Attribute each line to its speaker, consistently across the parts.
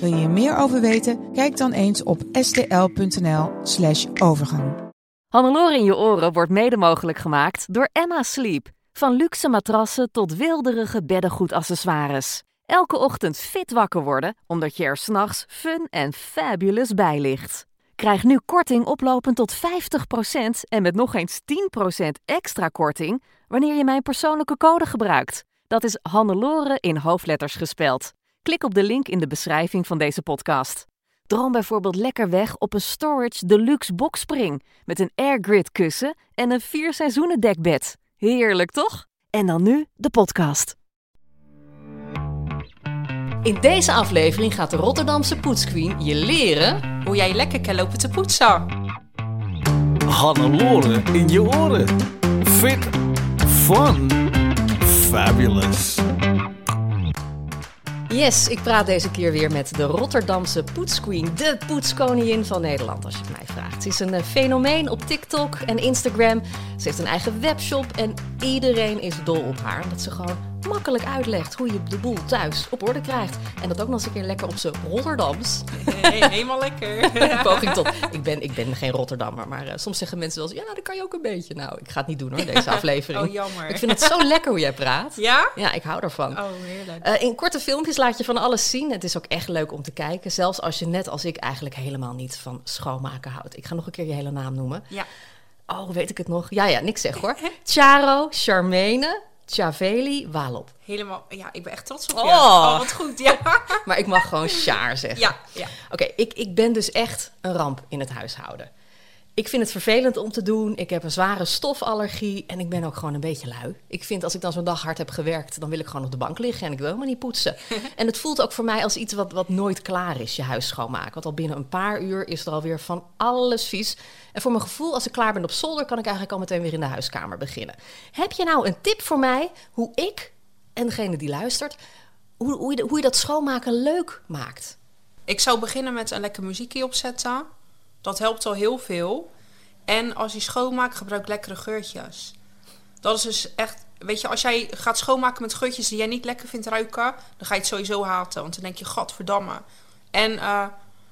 Speaker 1: Wil je hier meer over weten? Kijk dan eens op stl.nl/slash overgang.
Speaker 2: Hannelore in je oren wordt mede mogelijk gemaakt door Emma Sleep. Van luxe matrassen tot wilderige beddengoedaccessoires. Elke ochtend fit wakker worden, omdat je er s'nachts fun en fabulous bij ligt. Krijg nu korting oplopend tot 50% en met nog eens 10% extra korting wanneer je mijn persoonlijke code gebruikt. Dat is Hannelore in hoofdletters gespeld. Klik op de link in de beschrijving van deze podcast. Droom bijvoorbeeld lekker weg op een Storage Deluxe Boxspring met een airgrid kussen en een vier seizoenen dekbed. Heerlijk toch? En dan nu de podcast.
Speaker 3: In deze aflevering gaat de Rotterdamse poetsqueen je leren hoe jij lekker kan lopen te poetsen.
Speaker 4: Hannelore in je oren. Fit. Fun. Fabulous.
Speaker 3: Yes, ik praat deze keer weer met de Rotterdamse poetsqueen, de poetskoningin van Nederland als je het mij vraagt. Ze is een eh, fenomeen op TikTok en Instagram. Ze heeft een eigen webshop en iedereen is dol op haar omdat ze gewoon makkelijk uitlegt hoe je de boel thuis op orde krijgt. En dat ook nog eens een keer lekker op zijn Rotterdams.
Speaker 5: Hey, helemaal lekker.
Speaker 3: Een poging tot. Ik ben, ik ben geen Rotterdammer, maar eh, soms zeggen mensen wel eens: ja, dat kan je ook een beetje. Nou, ik ga het niet doen hoor, deze aflevering.
Speaker 5: Oh, jammer.
Speaker 3: Ik vind het zo lekker hoe jij praat.
Speaker 5: Ja?
Speaker 3: Ja, ik hou daarvan.
Speaker 5: Oh, heerlijk.
Speaker 3: Eh, in korte filmpjes laat je van alles zien. Het is ook echt leuk om te kijken. Zelfs als je net als ik eigenlijk helemaal niet van schoonmaken houdt. Ik ga nog een keer je hele naam noemen.
Speaker 5: Ja.
Speaker 3: Oh, weet ik het nog? Ja, ja, niks zeg hoor. Charo, Charmene, Chaveli, Walop.
Speaker 5: Helemaal, ja, ik ben echt trots op
Speaker 3: Oh.
Speaker 5: je. Oh, wat goed, ja.
Speaker 3: Maar ik mag gewoon Char zeggen.
Speaker 5: Ja, ja.
Speaker 3: Oké, ik, ik ben dus echt een ramp in het huishouden. Ik vind het vervelend om te doen. Ik heb een zware stofallergie en ik ben ook gewoon een beetje lui. Ik vind als ik dan zo'n dag hard heb gewerkt, dan wil ik gewoon op de bank liggen en ik wil helemaal niet poetsen. en het voelt ook voor mij als iets wat, wat nooit klaar is, je huis schoonmaken. Want al binnen een paar uur is er alweer van alles vies. En voor mijn gevoel, als ik klaar ben op zolder, kan ik eigenlijk al meteen weer in de huiskamer beginnen. Heb je nou een tip voor mij hoe ik en degene die luistert, hoe, hoe, je, de- hoe je dat schoonmaken leuk maakt?
Speaker 5: Ik zou beginnen met een lekker muziekje opzetten. Dat helpt al heel veel. En als je schoonmaakt, gebruik lekkere geurtjes. Dat is dus echt... Weet je, als jij gaat schoonmaken met geurtjes die jij niet lekker vindt ruiken... dan ga je het sowieso haten. Want dan denk je, gadverdamme. En eh,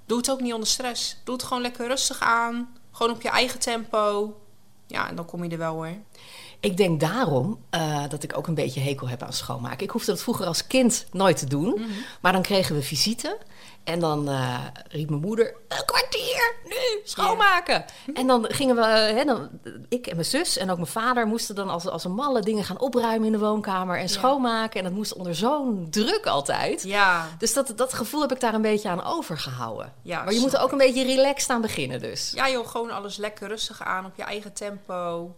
Speaker 5: doe het ook niet onder stress. Doe het gewoon lekker rustig aan. Gewoon op je eigen tempo. Ja, en dan kom je er wel hoor.
Speaker 3: Ik denk daarom eh, dat ik ook een beetje hekel heb aan schoonmaken. Ik hoefde dat vroeger als kind nooit te doen.
Speaker 5: Mhm.
Speaker 3: Maar dan kregen we visite. En dan eh, riep mijn moeder: Een kwartier, nu, schoonmaken.
Speaker 5: Mhm.
Speaker 3: En dan gingen we, eh, hè, dan, ik en mijn zus en ook mijn vader moesten dan als, als een malle dingen gaan opruimen in de woonkamer en schoonmaken. En dat moest onder zo'n druk altijd.
Speaker 5: Ja.
Speaker 3: Dus dat, dat gevoel heb ik daar een beetje aan overgehouden.
Speaker 5: Ja,
Speaker 3: maar je moet er
Speaker 5: snap
Speaker 3: ook een beetje relaxed aan beginnen, dus.
Speaker 5: Ja joh, gewoon alles lekker rustig aan op je eigen tempo.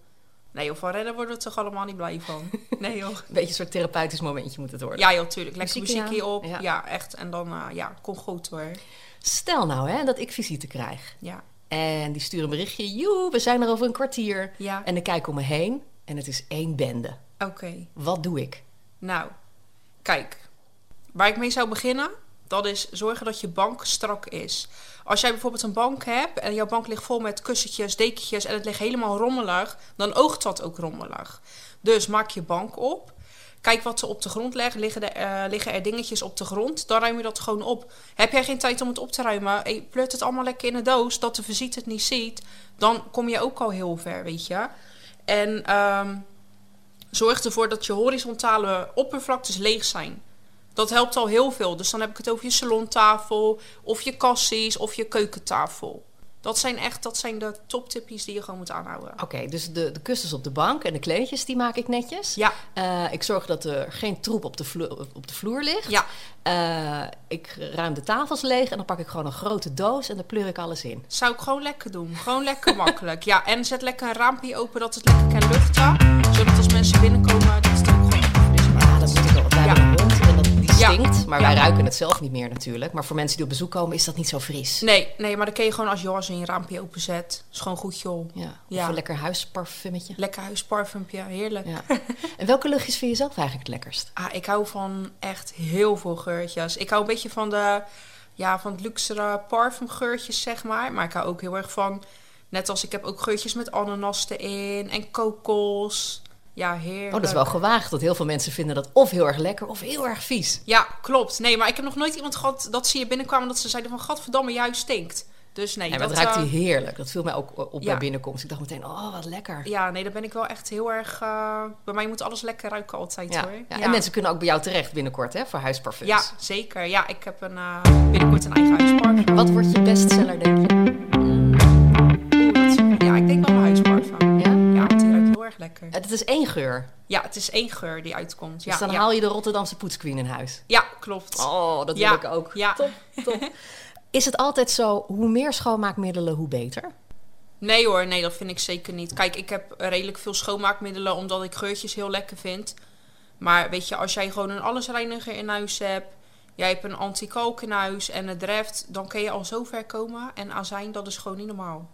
Speaker 5: Nee joh, van rennen worden we toch allemaal niet blij van. Nee joh.
Speaker 3: Een beetje een soort therapeutisch momentje moet het worden.
Speaker 5: Ja joh, tuurlijk. Lekker
Speaker 3: Muziekje
Speaker 5: muziekje
Speaker 3: aan.
Speaker 5: op.
Speaker 3: Ja.
Speaker 5: Ja. echt. En dan, eh, ja, kom goed hoor.
Speaker 3: Stel nou hè, dat ik visite krijg.
Speaker 5: Ja.
Speaker 3: En die sturen een berichtje. Joe, we zijn er over een kwartier.
Speaker 5: Ja.
Speaker 3: En ik kijk om me heen en het is één bende.
Speaker 5: Oké.
Speaker 3: Wat doe ik?
Speaker 5: Nou, kijk. Waar ik mee zou beginnen, dat is zorgen dat je bank strak is. Als jij bijvoorbeeld een bank hebt en jouw bank ligt vol met kussentjes, dekentjes en het ligt helemaal rommelig, dan oogt dat ook rommelig. Dus maak je bank op. Kijk wat er op de grond ligt. Liggen er, eh, liggen er dingetjes op de grond? Dan ruim je dat gewoon op. Heb jij geen tijd om het op te ruimen? eh, Plut het allemaal lekker in een doos, dat de visite het niet ziet. Dan kom je ook al heel ver, weet je. En ehm, Zorg ervoor dat je horizontale oppervlaktes leeg zijn. Dat helpt al heel veel. Dus dan heb ik het over je salontafel, of je kassies, of je keukentafel. Dat zijn echt dat zijn de toptippies die je gewoon moet aanhouden.
Speaker 3: Oké, dus de, de kussens op de bank en de kleedjes, die maak ik netjes.
Speaker 5: Ja.
Speaker 3: Eh, ik zorg dat er geen troep op de, vloer, op de vloer ligt.
Speaker 5: Ja.
Speaker 3: Eh, ik ruim de tafels leeg en dan pak ik gewoon een grote doos en dan pleur ik alles in.
Speaker 5: Zou ik gewoon lekker doen. Gewoon lekker makkelijk. Ja, en zet lekker een raampje open dat het lekker kan luchten. Zodat als mensen binnenkomen, dat het ook gewoon fris
Speaker 3: Ah, Ja, dat moet ik wel. Want wij hebben een hond en dat, die stinkt, maar wij ruiken het zelf niet meer natuurlijk. Maar voor mensen die op bezoek komen is dat niet zo fris.
Speaker 5: Nee, nee, maar dan kun je gewoon als Jos in je raampje openzet. Is gewoon goed, joh.
Speaker 3: Ja. Of
Speaker 5: Ja.
Speaker 3: een lekker huisparfummetje.
Speaker 5: Lekker huisparfumpje, heerlijk.
Speaker 3: Ja. En welke luchtjes vind je zelf eigenlijk het lekkerst?
Speaker 5: Ah, ik hou van echt heel veel geurtjes. Ik hou een beetje van de, ja, van het luxere parfumgeurtjes, zeg maar. Maar ik hou ook heel erg van, net als ik heb ook geurtjes met ananas erin en kokos. Ja, heerlijk.
Speaker 3: Oh, dat is wel gewaagd. Dat heel veel mensen vinden dat of heel erg lekker of heel erg vies.
Speaker 5: Ja, klopt. Nee, maar ik heb nog nooit iemand gehad dat ze hier binnenkwamen dat ze zeiden van, gadverdamme, jij stinkt. Dus nee,
Speaker 3: Ja, maar
Speaker 5: dat...
Speaker 3: het ruikt
Speaker 5: eh,
Speaker 3: hier heerlijk. Dat viel mij ook eh, op
Speaker 5: ja.
Speaker 3: bij binnenkomst. Ik dacht meteen, oh, wat lekker.
Speaker 5: ja, nee, daar ben ik wel echt heel erg... eh, bij mij moet alles lekker ruiken altijd,
Speaker 3: Ja.
Speaker 5: hoor.
Speaker 3: ja. En mensen dus. kunnen ook bij jou terecht binnenkort hè, voor huisparfums.
Speaker 5: Ja, zeker. Ja, ik heb een, eh, binnenkort een eigen huisparfum.
Speaker 3: Wat wordt je bestseller, denk je?
Speaker 5: Oeh, Oh, dat- Ja, ik denk wel mijn huisparfum.
Speaker 3: Ja?
Speaker 5: Ja, want die ruikt heel erg lekker.
Speaker 3: Eh, Het is één geur.
Speaker 5: Ja, het is één geur die uitkomt. Ja,
Speaker 3: Dus dan
Speaker 5: ja.
Speaker 3: haal je de Rotterdamse poetsqueen in huis.
Speaker 5: ja klopt.
Speaker 3: Oh, dat
Speaker 5: ja,
Speaker 3: wil ik ook.
Speaker 5: Ja.
Speaker 3: Is het altijd zo, hoe meer schoonmaakmiddelen, hoe beter?
Speaker 5: Nee hoor, nee, dat vind ik zeker niet. Kijk, ik heb redelijk veel schoonmaakmiddelen omdat ik geurtjes heel lekker vind. Maar weet je, als jij gewoon een allesreiniger in huis hebt, jij hebt een anti-kalk in huis en het dreft, dan kun je al zo ver komen. En azijn, dat is gewoon niet normaal.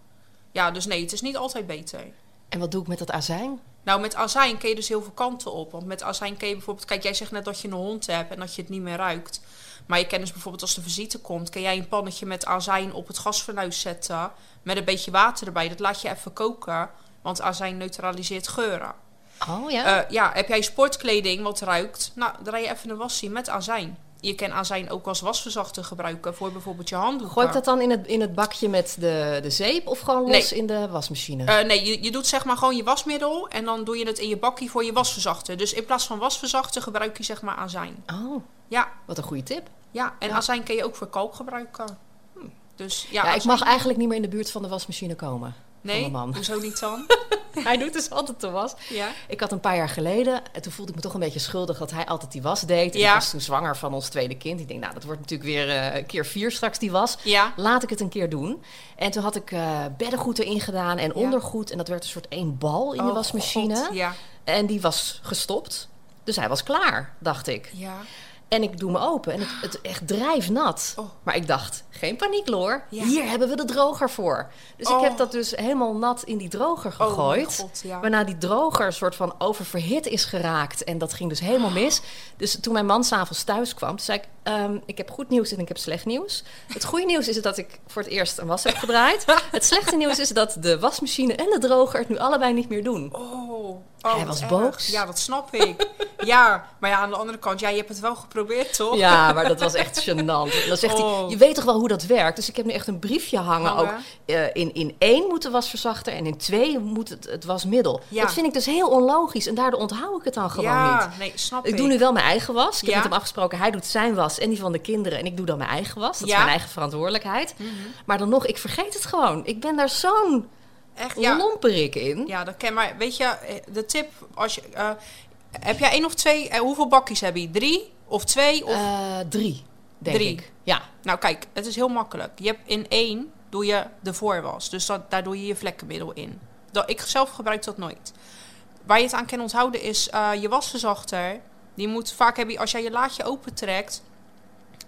Speaker 5: Ja, dus nee, het is niet altijd beter.
Speaker 3: En wat doe ik met dat azijn?
Speaker 5: Nou, met azijn kun je dus heel veel kanten op. Want met azijn kun je bijvoorbeeld... Kijk, jij zegt net dat je een hond hebt en dat je het niet meer ruikt. Maar je kan dus bijvoorbeeld als de visite komt... kun jij een pannetje met azijn op het gasfornuis zetten... met een beetje water erbij. Dat laat je even koken, want azijn neutraliseert geuren.
Speaker 3: Oh ja.
Speaker 5: Eh, ja, heb jij sportkleding wat ruikt? Nou, draai je even een wassie met azijn. Je kan azijn ook als wasverzachter gebruiken... voor bijvoorbeeld je handdoeken.
Speaker 3: Gooi ik dat dan in het, in het bakje met de, de zeep of gewoon los in de wasmachine?
Speaker 5: Eh, nee, je, je doet zeg maar gewoon je wasmiddel en dan doe je het in je bakkie voor je wasverzachter. Dus in plaats van wasverzachter gebruik je zeg maar azijn.
Speaker 3: oh,
Speaker 5: Ja,
Speaker 3: wat een goede tip.
Speaker 5: ja. en azijn kun je ook voor kalk gebruiken. Dus ja,
Speaker 3: Ja, ik
Speaker 5: azijn-
Speaker 3: mag eigenlijk niet meer in de buurt van de wasmachine komen.
Speaker 5: nee,
Speaker 3: mijn man.
Speaker 5: hoezo niet dan?
Speaker 3: Hij doet dus altijd de was.
Speaker 5: ja.
Speaker 3: Ik had een paar jaar geleden, en toen voelde ik me toch een beetje schuldig dat hij altijd die was deed. En
Speaker 5: Ja.
Speaker 3: ik was toen zwanger van ons tweede kind. Ik denk, nou, dat wordt natuurlijk weer eh, keer vier straks die was.
Speaker 5: Ja.
Speaker 3: Laat ik het een keer doen. En toen had ik eh, beddengoed erin gedaan en ondergoed. En dat werd een soort één bal in de
Speaker 5: Oh,
Speaker 3: wasmachine.
Speaker 5: God, ja.
Speaker 3: En die was gestopt. Dus hij was klaar, dacht ik.
Speaker 5: Ja.
Speaker 3: En ik doe me open en het, het echt drijfnat.
Speaker 5: Oh.
Speaker 3: Maar ik dacht, geen paniek, Loor.
Speaker 5: Ja.
Speaker 3: Hier hebben we de droger voor. Dus
Speaker 5: Oh.
Speaker 3: ik heb dat dus helemaal nat in die droger
Speaker 5: mijn
Speaker 3: gegooid.
Speaker 5: God, ja.
Speaker 3: Waarna die droger soort van oververhit is geraakt. En dat ging dus helemaal mis. Dus toen mijn man s'avonds thuis kwam, toen zei ik... ehm, ik heb goed nieuws en ik heb slecht nieuws. Het goede nieuws is dat ik voor het eerst een was heb gedraaid. het slechte nieuws is dat de wasmachine en de droger het nu allebei niet meer doen.
Speaker 5: Oh, oh,
Speaker 3: Hij
Speaker 5: wat
Speaker 3: was
Speaker 5: erg.
Speaker 3: boos.
Speaker 5: Ja, dat snap ik. ja, maar ja, aan de andere kant, ja, je hebt het wel geprobeerd, toch?
Speaker 3: Ja, maar dat was echt gênant. Dan zegt hij,
Speaker 5: Oh.
Speaker 3: je weet toch wel hoe dat werkt? Dus ik heb nu echt een briefje hangen.
Speaker 5: Hangen.
Speaker 3: Ook eh, in, in één moet de wasverzachter en in twee moet het, het wasmiddel.
Speaker 5: Ja.
Speaker 3: Dat vind ik dus heel onlogisch en daardoor onthoud ik het dan gewoon
Speaker 5: Ja,
Speaker 3: niet.
Speaker 5: nee, snap ik.
Speaker 3: Ik doe nu wel mijn eigen was. Ik heb
Speaker 5: Ja.
Speaker 3: met hem afgesproken, hij doet zijn was en die van de kinderen. En ik doe dan mijn eigen was. Dat
Speaker 5: Ja. Mhm.
Speaker 3: is mijn eigen verantwoordelijkheid. Maar dan nog, ik vergeet het gewoon. Ik ben daar zo'n
Speaker 5: Echt, ja.
Speaker 3: lomperik in.
Speaker 5: Ja, dat ken maar. Weet je, eh, de tip, als je, eh, heb jij één of twee, eh, hoeveel bakjes heb je? Drie of twee of
Speaker 3: Eh, drie, denk
Speaker 5: Drie.
Speaker 3: ik. Ja.
Speaker 5: Nou, kijk, het is heel makkelijk. Je hebt in één doe je de voorwas. Dus dat, daar doe je je vlekkenmiddel in. Dat, ik zelf gebruik dat nooit. Waar je het aan kan onthouden is eh, je wasverzachter. Die moet vaak hebben, als jij je laadje opentrekt,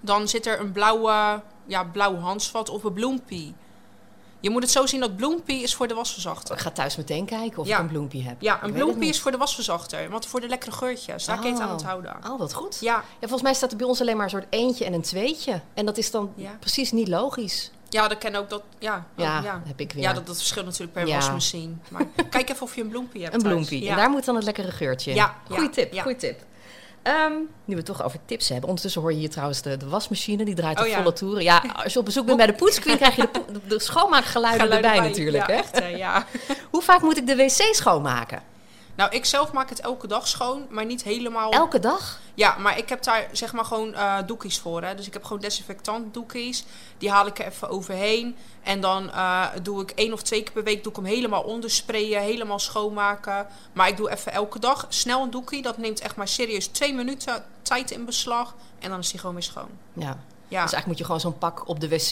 Speaker 5: dan zit er een blauwe, ja, blauw handvat of een bloempie. Je moet het zo zien dat bloempie is voor de wasverzachter.
Speaker 3: Ik ga thuis meteen kijken of
Speaker 5: Ja.
Speaker 3: ik een bloempje heb.
Speaker 5: Ja,
Speaker 3: Ik
Speaker 5: een
Speaker 3: weet het
Speaker 5: bloempie
Speaker 3: niet.
Speaker 5: is voor de wasverzachter. Want voor de lekkere geurtjes, daar kan je het aan
Speaker 3: Oh.
Speaker 5: onthouden.
Speaker 3: Oh, wat goed.
Speaker 5: Ja,
Speaker 3: Ja, volgens mij staat er bij ons alleen maar een soort eentje en een tweetje. En dat is dan
Speaker 5: Ja.
Speaker 3: precies niet logisch.
Speaker 5: Ja, dat ken ook dat. Ja, oh,
Speaker 3: Ja, heb ik weer.
Speaker 5: Ja, dat, dat verschilt natuurlijk per
Speaker 3: Ja.
Speaker 5: wasmachine. Maar kijk even of je een bloempie hebt.
Speaker 3: Een
Speaker 5: thuis.
Speaker 3: bloempie.
Speaker 5: Ja.
Speaker 3: En daar moet dan het lekkere geurtje in.
Speaker 5: Ja,
Speaker 3: Goeie
Speaker 5: ja,
Speaker 3: tip,
Speaker 5: ja.
Speaker 3: goeie tip. Ehm, nu we het toch over tips hebben. Ondertussen hoor je hier trouwens de, de wasmachine. Die draait op
Speaker 5: Oh ja.
Speaker 3: volle toeren. Ja, als je op bezoek bent bij de poetsqueen krijg je de, po- de, de schoonmaakgeluiden
Speaker 5: Geluid
Speaker 3: erbij
Speaker 5: erbij.
Speaker 3: natuurlijk.
Speaker 5: Ja,
Speaker 3: Hè?
Speaker 5: echt, hè, ja.
Speaker 3: Hoe vaak moet ik de wc schoonmaken?
Speaker 5: Nou, ik zelf maak het elke dag schoon, maar niet helemaal.
Speaker 3: Elke dag?
Speaker 5: Ja, maar ik heb daar zeg maar gewoon eh doekjes voor. Hè. Dus ik heb gewoon desinfectant doekjes. Die haal ik er even overheen. En dan eh, doe ik één of twee keer per week doe ik hem helemaal ondersprayen, helemaal schoonmaken. Maar ik doe even elke dag snel een doekie. Dat neemt echt maar serieus twee minuten tijd in beslag. En dan is hij gewoon weer schoon.
Speaker 3: Ja.
Speaker 5: Ja.
Speaker 3: Dus eigenlijk moet je gewoon zo'n pak op de wc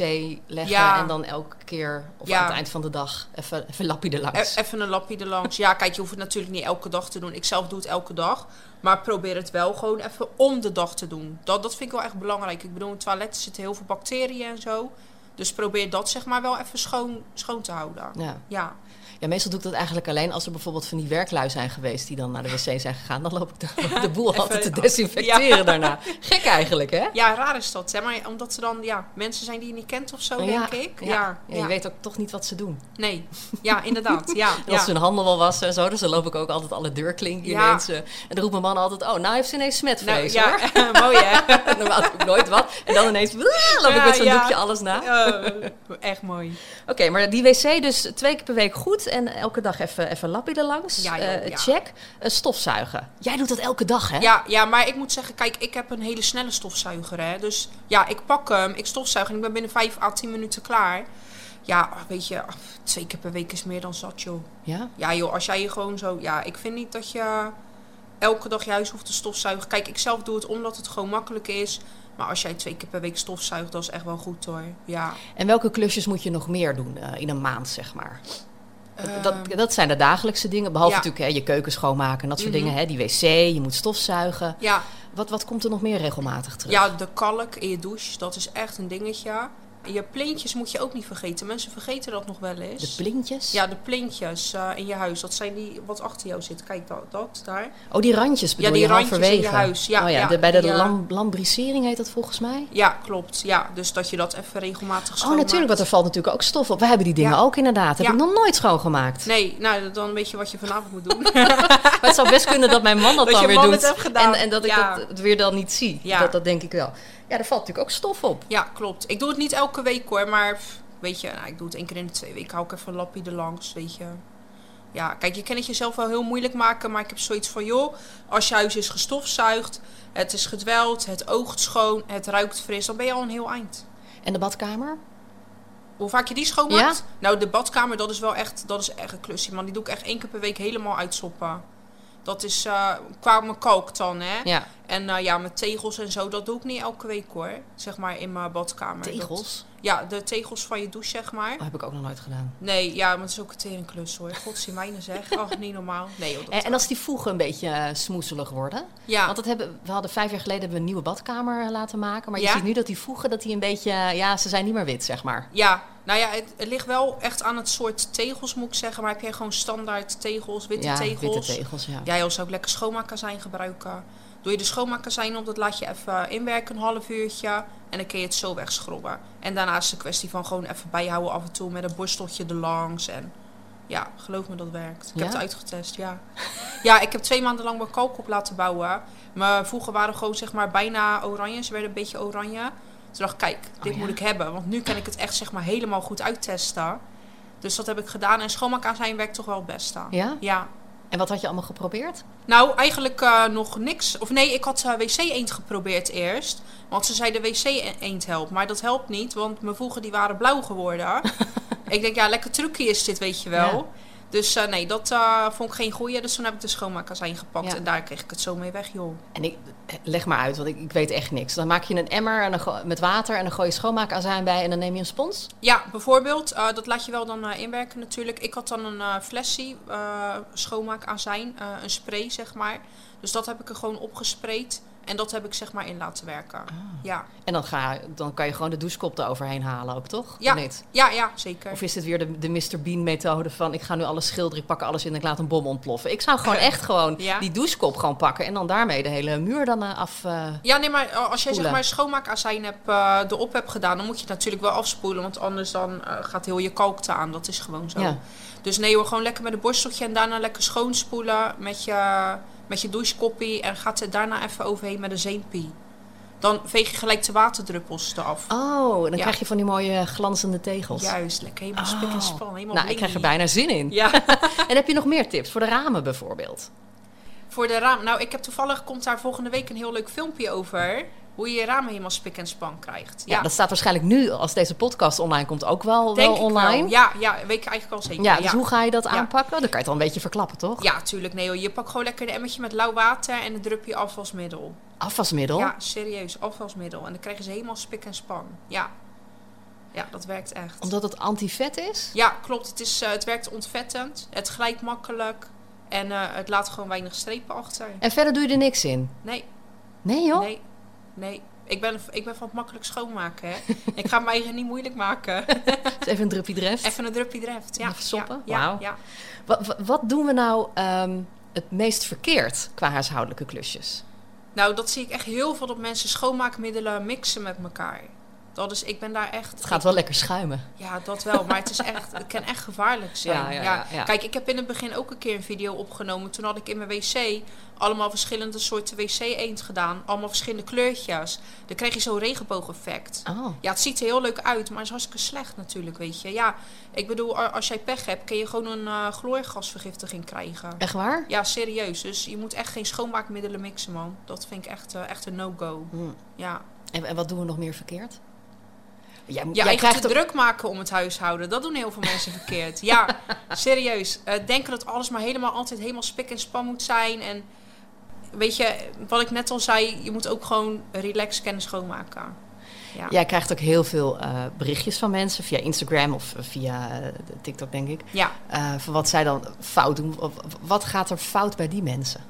Speaker 3: leggen
Speaker 5: Ja.
Speaker 3: en dan elke keer of
Speaker 5: Ja.
Speaker 3: aan het eind van de dag even, even lapje er langs.
Speaker 5: E- Even een lapje erlangs. Ja, kijk, je hoeft het natuurlijk niet elke dag te doen. Ik zelf doe het elke dag. Maar probeer het wel gewoon even om de dag te doen. Dat, dat vind ik wel echt belangrijk. Ik bedoel, in toiletten zitten heel veel bacteriën en zo. Dus probeer dat zeg maar wel even schoon, schoon te houden.
Speaker 3: Ja.
Speaker 5: Ja.
Speaker 3: ja, meestal doe ik dat eigenlijk alleen als er bijvoorbeeld van die werklui zijn geweest die dan naar de wc zijn gegaan. Dan loop ik de, de boel altijd te
Speaker 5: Even-
Speaker 3: desinfecteren
Speaker 5: Ja.
Speaker 3: daarna. Gek eigenlijk, hè?
Speaker 5: ja, raar is dat. Hè? Maar omdat ze dan ja, mensen zijn die je niet kent of zo,
Speaker 3: ja,
Speaker 5: Oh, denk ik.
Speaker 3: ja.
Speaker 5: Ja, ja,
Speaker 3: Ja, je weet ook toch niet wat ze doen.
Speaker 5: Nee, ja, inderdaad. Ja,
Speaker 3: En als ze
Speaker 5: ja.
Speaker 3: hun handen wel wassen en zo, dus dan loop ik ook altijd alle deurklinken
Speaker 5: Ja.
Speaker 3: ineens. eh, en dan roept mijn man altijd, oh, nou heeft ze ineens
Speaker 5: Nou,
Speaker 3: smetvrees hoor.
Speaker 5: ja. mooi hè?
Speaker 3: Normaal doe ik nooit wat. En dan ineens "Wah", loop ik
Speaker 5: Ja,
Speaker 3: met zo'n
Speaker 5: ja.
Speaker 3: doekje alles na.
Speaker 5: Eh, echt mooi.
Speaker 3: Oké, maar die wc dus twee keer per week goed en elke dag even, even lappie erlangs.
Speaker 5: Ja, joh,
Speaker 3: Eh,
Speaker 5: ja.
Speaker 3: Check. Eh, stofzuigen. Jij doet dat elke dag, hè?
Speaker 5: Ja, ja, maar ik moet zeggen, kijk, ik heb een hele snelle stofzuiger. Hè? Dus ja, ik pak hem, ik stofzuig en ik ben binnen 5 à 10 minuten klaar. Ja, weet je, af, twee keer per week is meer dan zat, joh.
Speaker 3: Ja?
Speaker 5: Ja, joh, als jij je gewoon zo. Ja, ik vind niet dat je elke dag je huis hoeft te stofzuigen. Kijk, ik zelf doe het omdat het gewoon makkelijk is. Maar als jij twee keer per week stofzuigt, dat is echt wel goed hoor. Ja.
Speaker 3: En welke klusjes moet je nog meer doen eh, in een maand, zeg maar? Dat- dat, dat zijn de dagelijkse dingen, behalve
Speaker 5: Ehm. ja. Mhm.
Speaker 3: natuurlijk hè, je keuken schoonmaken en dat soort dingen. Hè, die wc, je moet stofzuigen.
Speaker 5: Ja,
Speaker 3: Wat, wat komt er nog meer regelmatig terug?
Speaker 5: ja, de kalk in je douche, dat is echt een dingetje. En Je plintjes moet je ook niet vergeten. Mensen vergeten dat nog wel eens.
Speaker 3: De plintjes?
Speaker 5: Ja, de plintjes eh, in je huis. Dat zijn die wat achter jou zit. Kijk dat, dat daar.
Speaker 3: Oh, die randjes bedoel
Speaker 5: die
Speaker 3: je
Speaker 5: randjes in je
Speaker 3: halverwege?
Speaker 5: huis, ja,
Speaker 3: oh, ja,
Speaker 5: ja,
Speaker 3: de- bij de
Speaker 5: die, eh,
Speaker 3: lam- lambrisering heet dat volgens mij.
Speaker 5: Ja, klopt. Ja, dus dat je dat even regelmatig
Speaker 3: Oh,
Speaker 5: schoonmaakt.
Speaker 3: natuurlijk, want er valt natuurlijk ook stof op. We hebben die dingen
Speaker 5: Ja.
Speaker 3: ook inderdaad. Heb
Speaker 5: Ja.
Speaker 3: ik nog nooit schoongemaakt.
Speaker 5: Nee, nou, dan weet je wat je vanavond moet doen.
Speaker 3: Maar het zou best kunnen dat mijn man dat,
Speaker 5: Dat
Speaker 3: dan
Speaker 5: je
Speaker 3: weer
Speaker 5: man
Speaker 3: doet.
Speaker 5: het heeft gedaan.
Speaker 3: En, en dat
Speaker 5: Ja.
Speaker 3: ik dat weer dan niet zie.
Speaker 5: Ja.
Speaker 3: Dat, dat denk ik wel. Ja, er valt natuurlijk ook stof op.
Speaker 5: ja, klopt. Ik doe het niet elke week hoor, maar pff, weet je, nou, ik doe het één keer in de twee weken. Hou ik even een lappie erlangs, weet je. Ja, kijk, je kan het jezelf wel heel moeilijk maken, maar ik heb zoiets van, joh, als je huis is gestofzuigd, het is gedweld, het oogt schoon, het ruikt fris, dan ben je al een heel eind.
Speaker 3: En de badkamer?
Speaker 5: Hoe vaak je die schoonmaakt? Nou, de badkamer, dat is wel echt, dat is echt een klusje, man. Die doe ik echt één keer per week helemaal uitsoppen. Dat is eh, qua mijn kalk dan, hè.
Speaker 3: Ja.
Speaker 5: En eh, ja, met tegels en zo, dat doe ik niet elke week hoor. Zeg maar in mijn badkamer. Dat-
Speaker 3: Tegels?
Speaker 5: ja, de tegels van je douche, zeg maar.
Speaker 3: Oh, heb ik ook nog nooit gedaan.
Speaker 5: Nee, ja, maar het is ook een teringklus hoor. Gods in mijne zeg. Ach, niet normaal. Nee, joh, dat-
Speaker 3: En, en als die voegen een beetje eh, smoezelig worden?
Speaker 5: ja.
Speaker 3: Eh, Want dat hebben, we hadden vijf jaar geleden hebben we een nieuwe badkamer eh, laten maken. Maar je
Speaker 5: Ja?
Speaker 3: ziet nu dat die voegen, dat die een beetje... eh, Ja, ze zijn niet meer wit, zeg maar.
Speaker 5: Ja, nou ja, het, het ligt wel echt aan het soort tegels, moet ik zeggen. Maar heb jij gewoon standaard tegels, witte
Speaker 3: ja,
Speaker 5: tegels?
Speaker 3: witte tegels, ja.
Speaker 5: Ja, joh, zou ik lekker schoonmaakkazijn gebruiken. Doe je de schoonmaakkazijn op, dat laat je even inwerken, een half uurtje. En dan kun je het zo wegschrobben. En daarna is het een kwestie van gewoon even bijhouden af en toe met een borsteltje erlangs. En ja, geloof me, dat werkt. Ik
Speaker 3: Ja?
Speaker 5: heb het uitgetest, ja. ja, ik heb twee maanden lang mijn kalk op laten bouwen. Mijn voegen waren gewoon zeg maar bijna oranje. Ze werden een beetje oranje. Toen dacht ik, kijk, dit
Speaker 3: Oh ja?
Speaker 5: moet ik hebben. Want nu kan ik het echt zeg maar helemaal goed uittesten. Dus dat heb ik gedaan. En schoonmaakkazijn werkt toch wel het beste.
Speaker 3: Ja?
Speaker 5: Ja.
Speaker 3: En wat had je allemaal geprobeerd?
Speaker 5: Nou, eigenlijk eh, nog niks. Of nee, ik had eh, wc-eend geprobeerd eerst. Want ze zeiden wc-eend helpt. Maar dat helpt niet, want mijn voegen die waren blauw geworden. ik denk, ja, lekker trucje is dit, weet je wel. Dus eh, nee, dat eh, vond ik geen goeie. Dus toen heb ik de schoonmaakazijn gepakt.
Speaker 3: Ja.
Speaker 5: En daar kreeg ik het zo mee weg, joh.
Speaker 3: En ik, eh, leg maar uit, want ik, ik weet echt niks. Dan maak je een emmer en dan go- met water en dan gooi je schoonmaakazijn bij en dan neem je een spons.
Speaker 5: Ja, bijvoorbeeld, eh, dat laat je wel dan eh, inwerken natuurlijk. Ik had dan een eh flesje eh schoonmaakazijn, eh, een spray zeg maar. Dus dat heb ik er gewoon opgesprayt. En dat heb ik zeg maar in laten werken.
Speaker 3: Ah.
Speaker 5: Ja.
Speaker 3: En dan, ga, dan kan je gewoon de douchekop eroverheen halen ook, toch? Of
Speaker 5: Ja,
Speaker 3: niet?
Speaker 5: ja, ja, zeker.
Speaker 3: Of is dit weer de, de Mr. Bean methode van ik ga nu alles schilderen, ik pak alles in en ik laat een bom ontploffen. Ik zou gewoon echt gewoon
Speaker 5: Ja.
Speaker 3: die douchekop gewoon pakken en dan daarmee de hele muur dan eh, af... eh,
Speaker 5: Ja, nee, maar als jij
Speaker 3: Spoelen.
Speaker 5: zeg maar schoonmaakazijn hebt, eh, erop hebt gedaan, dan moet je het natuurlijk wel afspoelen. Want anders dan eh, gaat heel je kalkte aan. Dat is gewoon zo.
Speaker 3: Ja.
Speaker 5: Dus nee hoor, gewoon lekker met een borsteltje en daarna lekker schoonspoelen met je, met je douchekoppie. En gaat het daarna even overheen met een zeempie. Dan veeg je gelijk de waterdruppels eraf.
Speaker 3: Oh, en dan
Speaker 5: Ja.
Speaker 3: krijg je van die mooie eh, glanzende tegels. Oh.
Speaker 5: Juist, lekker helemaal spik en span. Helemaal
Speaker 3: nou, ik krijg er
Speaker 5: blingy.
Speaker 3: bijna zin in.
Speaker 5: Ja.
Speaker 3: En heb je nog meer tips voor de ramen bijvoorbeeld?
Speaker 5: Voor de raam. Nou, ik heb toevallig komt daar volgende week een heel leuk filmpje over. Hoe je je ramen helemaal spik en span krijgt.
Speaker 3: Ja, dat staat waarschijnlijk nu, als deze podcast online komt, ook wel, wel
Speaker 5: Denk ik wel.
Speaker 3: online.
Speaker 5: Ja, ja, weet ik eigenlijk al zeker.
Speaker 3: Ja, dus hoe ga je dat
Speaker 5: Ja.
Speaker 3: aanpakken? Dan kan je het al een beetje verklappen, toch?
Speaker 5: Ja, tuurlijk. Nee, joh. je pakt gewoon lekker een emmertje met lauw water en een drupje afwasmiddel.
Speaker 3: Afwasmiddel.
Speaker 5: Ja, serieus, afwasmiddel. En dan krijgen ze helemaal spik en span. Ja, ja dat werkt echt.
Speaker 3: Omdat het antivet is?
Speaker 5: Ja, klopt. Het, is, eh, het werkt ontvettend. Het glijdt makkelijk. En eh, het laat gewoon weinig strepen achter.
Speaker 3: En verder doe je er niks in?
Speaker 5: Nee,
Speaker 3: Nee joh?
Speaker 5: nee, nee. Ik ben, ik ben van het makkelijk schoonmaken. Hè. ik ga mijn eigen niet moeilijk maken.
Speaker 3: Dus even een drupje dreft.
Speaker 5: Even een drupje dreft. Ja,
Speaker 3: Even soppen?
Speaker 5: Ja, ja,
Speaker 3: Wauw.
Speaker 5: ja.
Speaker 3: Wa- wa- Wat, doen we nou ehm, het meest verkeerd qua huishoudelijke klusjes?
Speaker 5: Nou, dat zie ik echt heel veel dat mensen schoonmaakmiddelen mixen met elkaar. Dat is, ik ben daar echt.
Speaker 3: Het gaat wel lekker schuimen.
Speaker 5: Ja, dat wel. Maar het, is echt, het kan echt gevaarlijk zijn.
Speaker 3: Ja, ja, ja, ja.
Speaker 5: Kijk, ik heb in het begin ook een keer een video opgenomen. Toen had ik in mijn wc allemaal verschillende soorten wc-eend gedaan. Allemaal verschillende kleurtjes. Dan kreeg je zo'n regenboogeffect.
Speaker 3: Oh.
Speaker 5: Ja, het ziet er heel leuk uit, maar het is hartstikke slecht natuurlijk, weet je. Ja, ik bedoel, a- als jij pech hebt, kun je gewoon een eh chloorgasvergiftiging krijgen.
Speaker 3: Echt waar?
Speaker 5: Ja, serieus. Dus je moet echt geen schoonmaakmiddelen mixen, man. Dat vind ik echt, eh, echt een no-go.
Speaker 3: Hmm.
Speaker 5: Ja,
Speaker 3: En, en wat doen we nog meer verkeerd? Jij,
Speaker 5: Ja,
Speaker 3: jij
Speaker 5: echt
Speaker 3: krijgt
Speaker 5: te
Speaker 3: ook-
Speaker 5: druk maken om het huishouden. Dat doen heel veel mensen verkeerd. Ja, serieus. Eh, denken dat alles maar helemaal altijd helemaal spik en span moet zijn. En weet je, wat ik net al zei, je moet ook gewoon relax kennen schoonmaken. Ja.
Speaker 3: Jij krijgt ook heel veel eh, berichtjes van mensen via Instagram of eh, via eh, TikTok, denk ik.
Speaker 5: ja.
Speaker 3: Eh, van wat zij dan fout doen. Of- of Wat gaat er fout bij die mensen?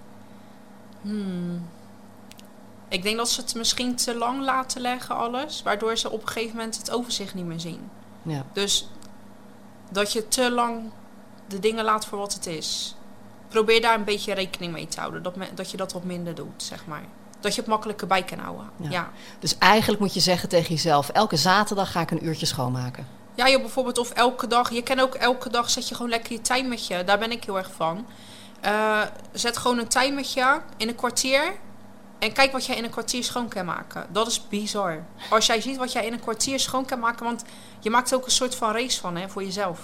Speaker 5: Hmm. Ik denk dat ze het misschien te lang laten leggen, alles. Waardoor ze op een gegeven moment het overzicht niet meer zien.
Speaker 3: Ja.
Speaker 5: Dus dat je te lang de dingen laat voor wat het is. Probeer daar een beetje rekening mee te houden. Dat, me- dat je dat wat minder doet, zeg maar. Dat je het makkelijker bij kan houden.
Speaker 3: Ja.
Speaker 5: Ja. Ja.
Speaker 3: Dus eigenlijk moet je zeggen tegen jezelf: elke zaterdag ga ik een uurtje schoonmaken.
Speaker 5: je bijvoorbeeld of elke dag. Je kan ook elke dag zet je gewoon lekker je timertje. Daar ben ik heel erg van. Eh, zet gewoon een timertje in een kwartier. En kijk wat jij in een kwartier schoon kan maken. Dat is bizar. Als jij ziet wat jij in een kwartier schoon kan maken. Want je maakt ook een soort van race van hè, voor jezelf.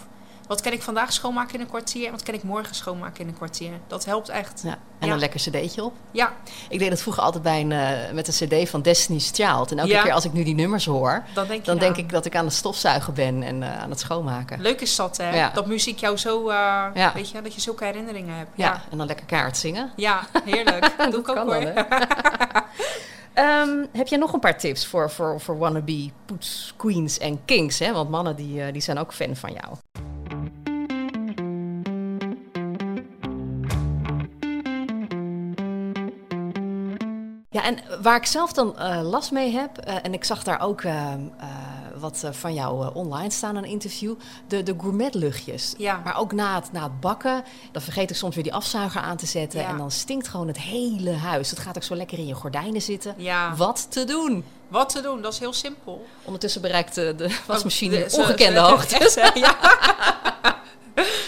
Speaker 5: Wat kan ik vandaag schoonmaken in een kwartier? En wat kan ik morgen schoonmaken in een kwartier? Dat helpt echt.
Speaker 3: Ja. En
Speaker 5: Ja.
Speaker 3: een lekker cd'tje op.
Speaker 5: Ja,
Speaker 3: Ik deed dat vroeger altijd bij een, eh, met een cd van Destiny's Child. En elke
Speaker 5: Ja.
Speaker 3: keer als ik nu die nummers hoor,
Speaker 5: dan denk, je
Speaker 3: dan
Speaker 5: na.
Speaker 3: denk ik dat ik aan het stofzuigen ben en eh, aan het schoonmaken.
Speaker 5: Leuk is dat, hè?
Speaker 3: Ja.
Speaker 5: Dat muziek jou zo... eh,
Speaker 3: Ja.
Speaker 5: Weet je, dat je zulke herinneringen hebt.
Speaker 3: Ja.
Speaker 5: Ja,
Speaker 3: en dan lekker kaart zingen.
Speaker 5: ja heerlijk. Dat doe ik ook
Speaker 3: kan
Speaker 5: hoor.
Speaker 3: dan, hè? Ehm, heb jij nog een paar tips voor, voor, voor wannabe poets, queens en kings? Hè? Want mannen die, eh, die zijn ook fan van jou. Ja, en waar ik zelf dan eh, last mee heb, eh, en ik zag daar ook eh, eh, wat eh, van jou eh, online staan, een interview, de, de gourmetluchtjes.
Speaker 5: Ja.
Speaker 3: Maar ook na het, na het bakken, dan vergeet ik soms weer die afzuiger aan te zetten
Speaker 5: Ja.
Speaker 3: en dan stinkt gewoon het hele huis. Het gaat ook zo lekker in je gordijnen zitten.
Speaker 5: Ja,
Speaker 3: Wat te doen?
Speaker 5: wat te doen, dat is heel simpel.
Speaker 3: Ondertussen bereikt de, de wasmachine
Speaker 5: Oh, de- ze-
Speaker 3: ongekende
Speaker 5: ze-
Speaker 3: hoogte.
Speaker 5: echt, hè? ja.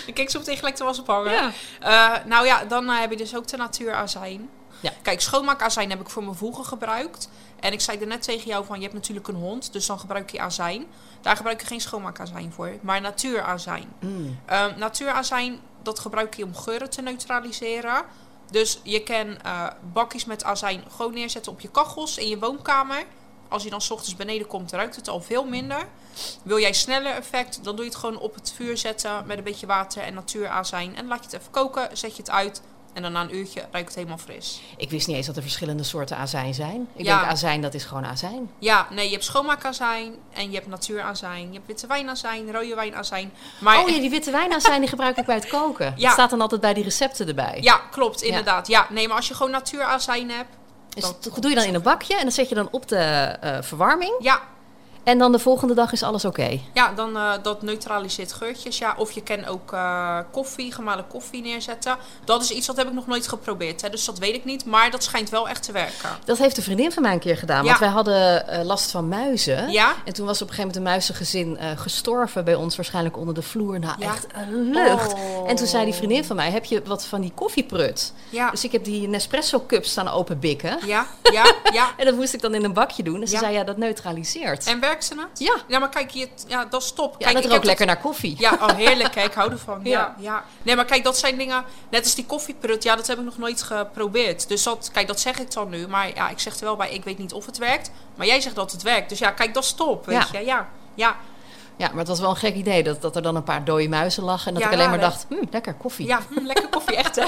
Speaker 5: Ik keek zo meteen gelijk de was ophangen.
Speaker 3: Ja.
Speaker 5: Eh, nou ja, dan eh, heb je dus ook de natuurazijn.
Speaker 3: Ja.
Speaker 5: Kijk, schoonmaakazijn heb ik voor mijn voegen gebruikt. En ik zei er net tegen jou van, je hebt natuurlijk een hond, dus dan gebruik je azijn. Daar gebruik je geen schoonmaakazijn voor, maar natuurazijn.
Speaker 3: Mm.
Speaker 5: Ehm, natuurazijn, dat gebruik je om geuren te neutraliseren. Dus je kan eh, bakjes met azijn gewoon neerzetten op je kachels in je woonkamer. Als je dan 's ochtends beneden komt, ruikt het al veel minder. Wil jij sneller effect, dan doe je het gewoon op het vuur zetten met een beetje water en natuurazijn. En laat je het even koken, zet je het uit en dan na een uurtje ruikt het helemaal fris.
Speaker 3: Ik wist niet eens dat er verschillende soorten azijn zijn. Ik
Speaker 5: Ja.
Speaker 3: denk azijn, dat is gewoon azijn.
Speaker 5: Ja, nee, je hebt schoonmaakazijn en je hebt natuurazijn. Je hebt witte wijnazijn, rode wijnazijn. Maar
Speaker 3: Oh ja, die witte wijnazijn die gebruik ik bij het koken.
Speaker 5: Ja.
Speaker 3: Dat staat dan altijd bij die recepten erbij.
Speaker 5: ja, klopt, inderdaad. Ja, nee, maar als je gewoon natuurazijn hebt,
Speaker 3: Dus
Speaker 5: dat-
Speaker 3: dat doe je dan in een bakje en dan zet je dan op de eh, verwarming.
Speaker 5: ja,
Speaker 3: En dan de volgende dag is alles oké.
Speaker 5: Ja, dan eh, dat neutraliseert geurtjes. Ja, of je kan ook eh, koffie, gemalen koffie neerzetten. Dat is iets dat heb ik nog nooit geprobeerd. Hè, dus dat weet ik niet. Maar dat schijnt wel echt te werken.
Speaker 3: Dat heeft een vriendin van mij een keer gedaan.
Speaker 5: Ja.
Speaker 3: Want wij hadden eh, last van muizen.
Speaker 5: Ja?
Speaker 3: En toen was op een gegeven moment een muizengezin eh, gestorven bij ons, waarschijnlijk onder de vloer. Nou,
Speaker 5: Ja.
Speaker 3: echt een lucht.
Speaker 5: Oh.
Speaker 3: En toen zei die vriendin van mij: Heb je wat van die koffieprut?
Speaker 5: Ja,
Speaker 3: Dus ik heb die Nespresso-cups staan openbikken.
Speaker 5: ja, ja, ja.
Speaker 3: En dat moest ik dan in een bakje doen. En ze
Speaker 5: Ja.
Speaker 3: zei: Ja, dat neutraliseert.
Speaker 5: En werkt werkt ze net?
Speaker 3: Ja.
Speaker 5: Ja, maar kijk, hier, ja, dat is top.
Speaker 3: Ja,
Speaker 5: kijk,
Speaker 3: dat
Speaker 5: ik
Speaker 3: rookt
Speaker 5: heb
Speaker 3: lekker naar koffie.
Speaker 5: Ja, oh, heerlijk. Kijk, ik hou ervan. Ja.
Speaker 3: Ja.
Speaker 5: Ja, Nee, maar kijk, dat zijn dingen... Net als die koffieprodut, ja, dat heb ik nog nooit geprobeerd. Dus dat, kijk, dat zeg ik dan nu. Maar ja, ik zeg er wel bij, ik weet niet of het werkt. Maar jij zegt dat het werkt. Dus ja, kijk, dat is top, weet
Speaker 3: Ja.
Speaker 5: je. Ja, ja,
Speaker 3: Ja, maar het was wel een gek idee dat, dat er dan een paar dode muizen lagen. En dat
Speaker 5: Ja,
Speaker 3: ik alleen maar
Speaker 5: raar, hè?
Speaker 3: dacht, hm, lekker koffie.
Speaker 5: ja hm, lekker koffie, echt, hè?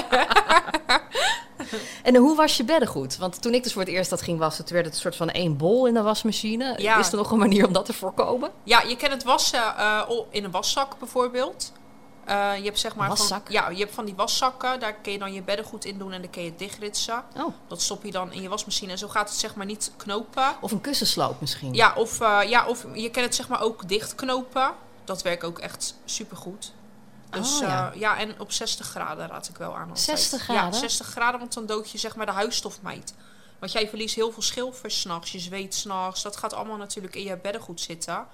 Speaker 3: En hoe was je beddengoed? Want toen ik dus voor het eerst dat ging wassen, toen werd het een soort van één bol in de wasmachine.
Speaker 5: Ja.
Speaker 3: Is er nog een manier om dat te voorkomen?
Speaker 5: Ja, je kan het wassen eh, o- in een waszak bijvoorbeeld. Eh, je hebt zeg maar
Speaker 3: Waszak?
Speaker 5: Van, ja, je hebt van die waszakken, daar kun je dan je beddengoed in doen en dan kun je het dichtritsen.
Speaker 3: Oh.
Speaker 5: Dat stop je dan in je wasmachine en zo gaat het zeg maar niet knopen.
Speaker 3: Of een kussensloop misschien?
Speaker 5: Ja, of, eh, ja, of je kan het zeg maar ook dichtknopen. Dat werkt ook echt supergoed. Dus
Speaker 3: Oh,
Speaker 5: eh,
Speaker 3: ja.
Speaker 5: ja. en op 60 graden raad ik wel aan. altijd.
Speaker 3: 60 graden?
Speaker 5: Ja, 60 graden, want dan dood je zeg maar de huisstofmijt. Want jij verliest heel veel schilfers s'nachts, je zweet s'nachts. Dat gaat allemaal natuurlijk in je beddengoed zitten.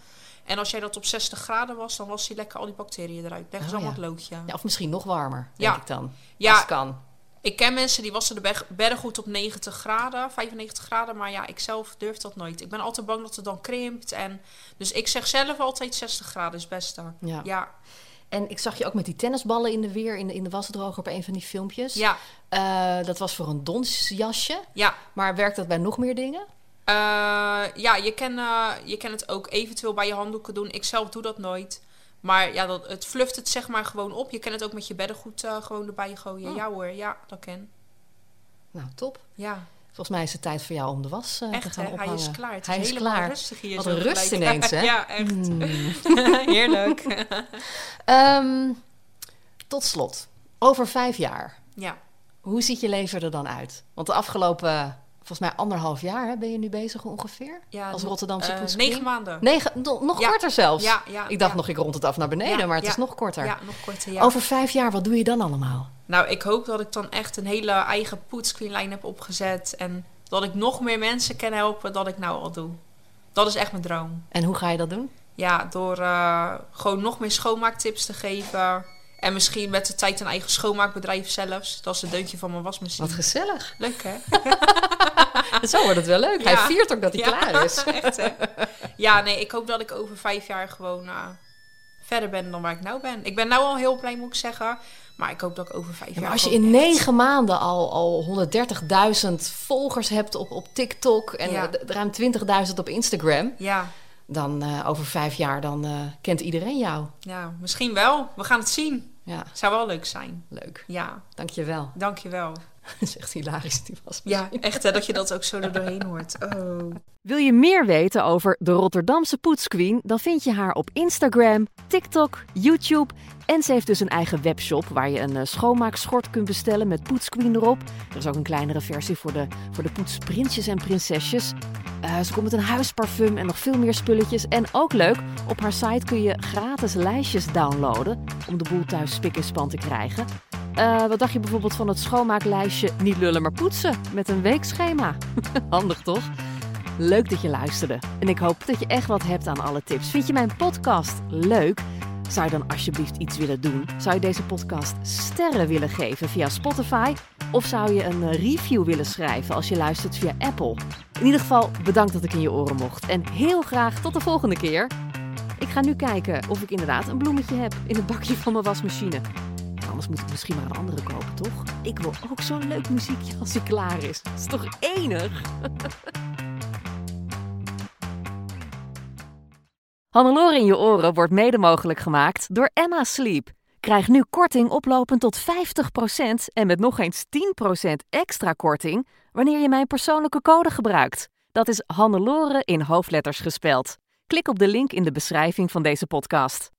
Speaker 5: En als jij dat op 60 graden was, dan was die lekker al die bacteriën eruit. Leg
Speaker 3: Oh,
Speaker 5: eens allemaal
Speaker 3: ja.
Speaker 5: het loodje.
Speaker 3: Ja, of misschien nog warmer, denk
Speaker 5: Ja.
Speaker 3: ik dan.
Speaker 5: Ja.
Speaker 3: Als het kan.
Speaker 5: Ik ken mensen die wassen de beg- beddengoed op 90 graden, 95 graden. Maar ja, ik zelf durf dat nooit. Ik ben altijd bang dat het dan krimpt. En, dus ik zeg zelf altijd 60 graden is best dan.
Speaker 3: Ja.
Speaker 5: Ja,
Speaker 3: En ik zag je ook met die tennisballen in de weer, in de, in de wasdroger op een van die filmpjes.
Speaker 5: ja,
Speaker 3: Eh, dat was voor een donsjasje.
Speaker 5: ja.
Speaker 3: Maar werkt dat bij nog meer dingen?
Speaker 5: Eh, ja, je kan, eh, je kan het ook eventueel bij je handdoeken doen. Ik zelf doe dat nooit. Maar ja, dat, het fluft het zeg maar gewoon op. Je kan het ook met je beddengoed eh, gewoon erbij gooien.
Speaker 3: Oh.
Speaker 5: Ja hoor, ja, dat kan.
Speaker 3: Nou, top.
Speaker 5: Ja,
Speaker 3: Volgens mij is het tijd voor jou om de was eh, te
Speaker 5: echt
Speaker 3: gaan
Speaker 5: hè, hij
Speaker 3: ophangen.
Speaker 5: is klaar. Het
Speaker 3: hij
Speaker 5: is,
Speaker 3: is
Speaker 5: helemaal
Speaker 3: klaar.
Speaker 5: rustig hier.
Speaker 3: Wat
Speaker 5: zo
Speaker 3: een rust
Speaker 5: gelijk.
Speaker 3: ineens, hè? Hmm.
Speaker 5: ja, echt. Heerlijk.
Speaker 3: Ehm, tot slot, over vijf jaar,
Speaker 5: ja.
Speaker 3: hoe ziet je leven er dan uit? Want de afgelopen, volgens mij anderhalf jaar, hè, ben je nu bezig ongeveer?
Speaker 5: Ja,
Speaker 3: als
Speaker 5: nog,
Speaker 3: Rotterdamse
Speaker 5: eh,
Speaker 3: poetskring?
Speaker 5: Negen maanden.
Speaker 3: Negen- no- nog
Speaker 5: Ja.
Speaker 3: korter zelfs.
Speaker 5: Ja, ja,
Speaker 3: ik dacht
Speaker 5: ja.
Speaker 3: nog, ik rond het af naar beneden,
Speaker 5: Ja,
Speaker 3: maar het
Speaker 5: ja.
Speaker 3: is nog korter.
Speaker 5: Ja, nog korter. Ja.
Speaker 3: Over vijf jaar, wat doe je dan allemaal?
Speaker 5: Nou, ik hoop dat ik dan echt een hele eigen poetscreenlijn heb opgezet. En dat ik nog meer mensen kan helpen dan ik nou al doe. Dat is echt mijn droom.
Speaker 3: En hoe ga je dat doen?
Speaker 5: Ja, door eh, gewoon nog meer schoonmaaktips te geven. En misschien met de tijd een eigen schoonmaakbedrijf zelfs. Dat is het deuntje van mijn wasmachine.
Speaker 3: Wat gezellig.
Speaker 5: Leuk hè?
Speaker 3: Zo wordt het wel leuk.
Speaker 5: Ja.
Speaker 3: Hij viert ook dat hij
Speaker 5: Ja.
Speaker 3: klaar is.
Speaker 5: echt hè? Ja, nee, ik hoop dat ik over vijf jaar gewoon eh, verder ben dan waar ik nou ben. Ik ben nou al heel blij, moet ik zeggen. Maar ik hoop dat ik over vijf
Speaker 3: Ja,
Speaker 5: jaar...
Speaker 3: maar als je
Speaker 5: gewoon
Speaker 3: in
Speaker 5: echt-
Speaker 3: negen maanden al, al 130.000 volgers hebt op, op TikTok en
Speaker 5: Ja.
Speaker 3: eh, d- ruim 20.000 op Instagram,
Speaker 5: Ja,
Speaker 3: dan eh, over vijf jaar dan, eh, kent iedereen jou.
Speaker 5: ja, misschien wel. We gaan het zien.
Speaker 3: Ja,
Speaker 5: Zou wel leuk zijn.
Speaker 3: leuk.
Speaker 5: Ja,
Speaker 3: Dankjewel.
Speaker 5: dankjewel.
Speaker 3: Dat is echt hilarisch, die was.
Speaker 5: Ja, echt hè, dat je dat ook zo er doorheen hoort. Oh.
Speaker 2: Wil je meer weten over de Rotterdamse poetsqueen? Dan vind je haar op Instagram, TikTok, YouTube. En ze heeft dus een eigen webshop waar je een eh, schoonmaakschort kunt bestellen met poetsqueen erop. Er is ook een kleinere versie voor de, voor de poetsprinsjes en prinsesjes. Eh, ze komt met een huisparfum en nog veel meer spulletjes. En ook leuk, op haar site kun je gratis lijstjes downloaden om de boel thuis spik en span te krijgen. Eh, wat dacht je bijvoorbeeld van het schoonmaaklijstje Niet lullen maar poetsen met een weekschema? Handig toch? Leuk dat je luisterde. En ik hoop dat je echt wat hebt aan alle tips. Vind je mijn podcast leuk? Zou je dan alsjeblieft iets willen doen? Zou je deze podcast sterren willen geven via Spotify? Of zou je een eh, review willen schrijven als je luistert via Apple? In ieder geval bedankt dat ik in je oren mocht. En heel graag tot de volgende keer. Ik ga nu kijken of ik inderdaad een bloemetje heb in het bakje van mijn wasmachine. En anders moet ik misschien maar een andere kopen, toch? Ik wil ook zo'n leuk muziekje als hij klaar is. Dat is toch enig? Hannelore in je oren wordt mede mogelijk gemaakt door Emma Sleep. Krijg nu korting oplopend tot 50% en met nog eens 10% extra korting wanneer je mijn persoonlijke code gebruikt. Dat is Hannelore in hoofdletters gespeld. Klik op de link in de beschrijving van deze podcast.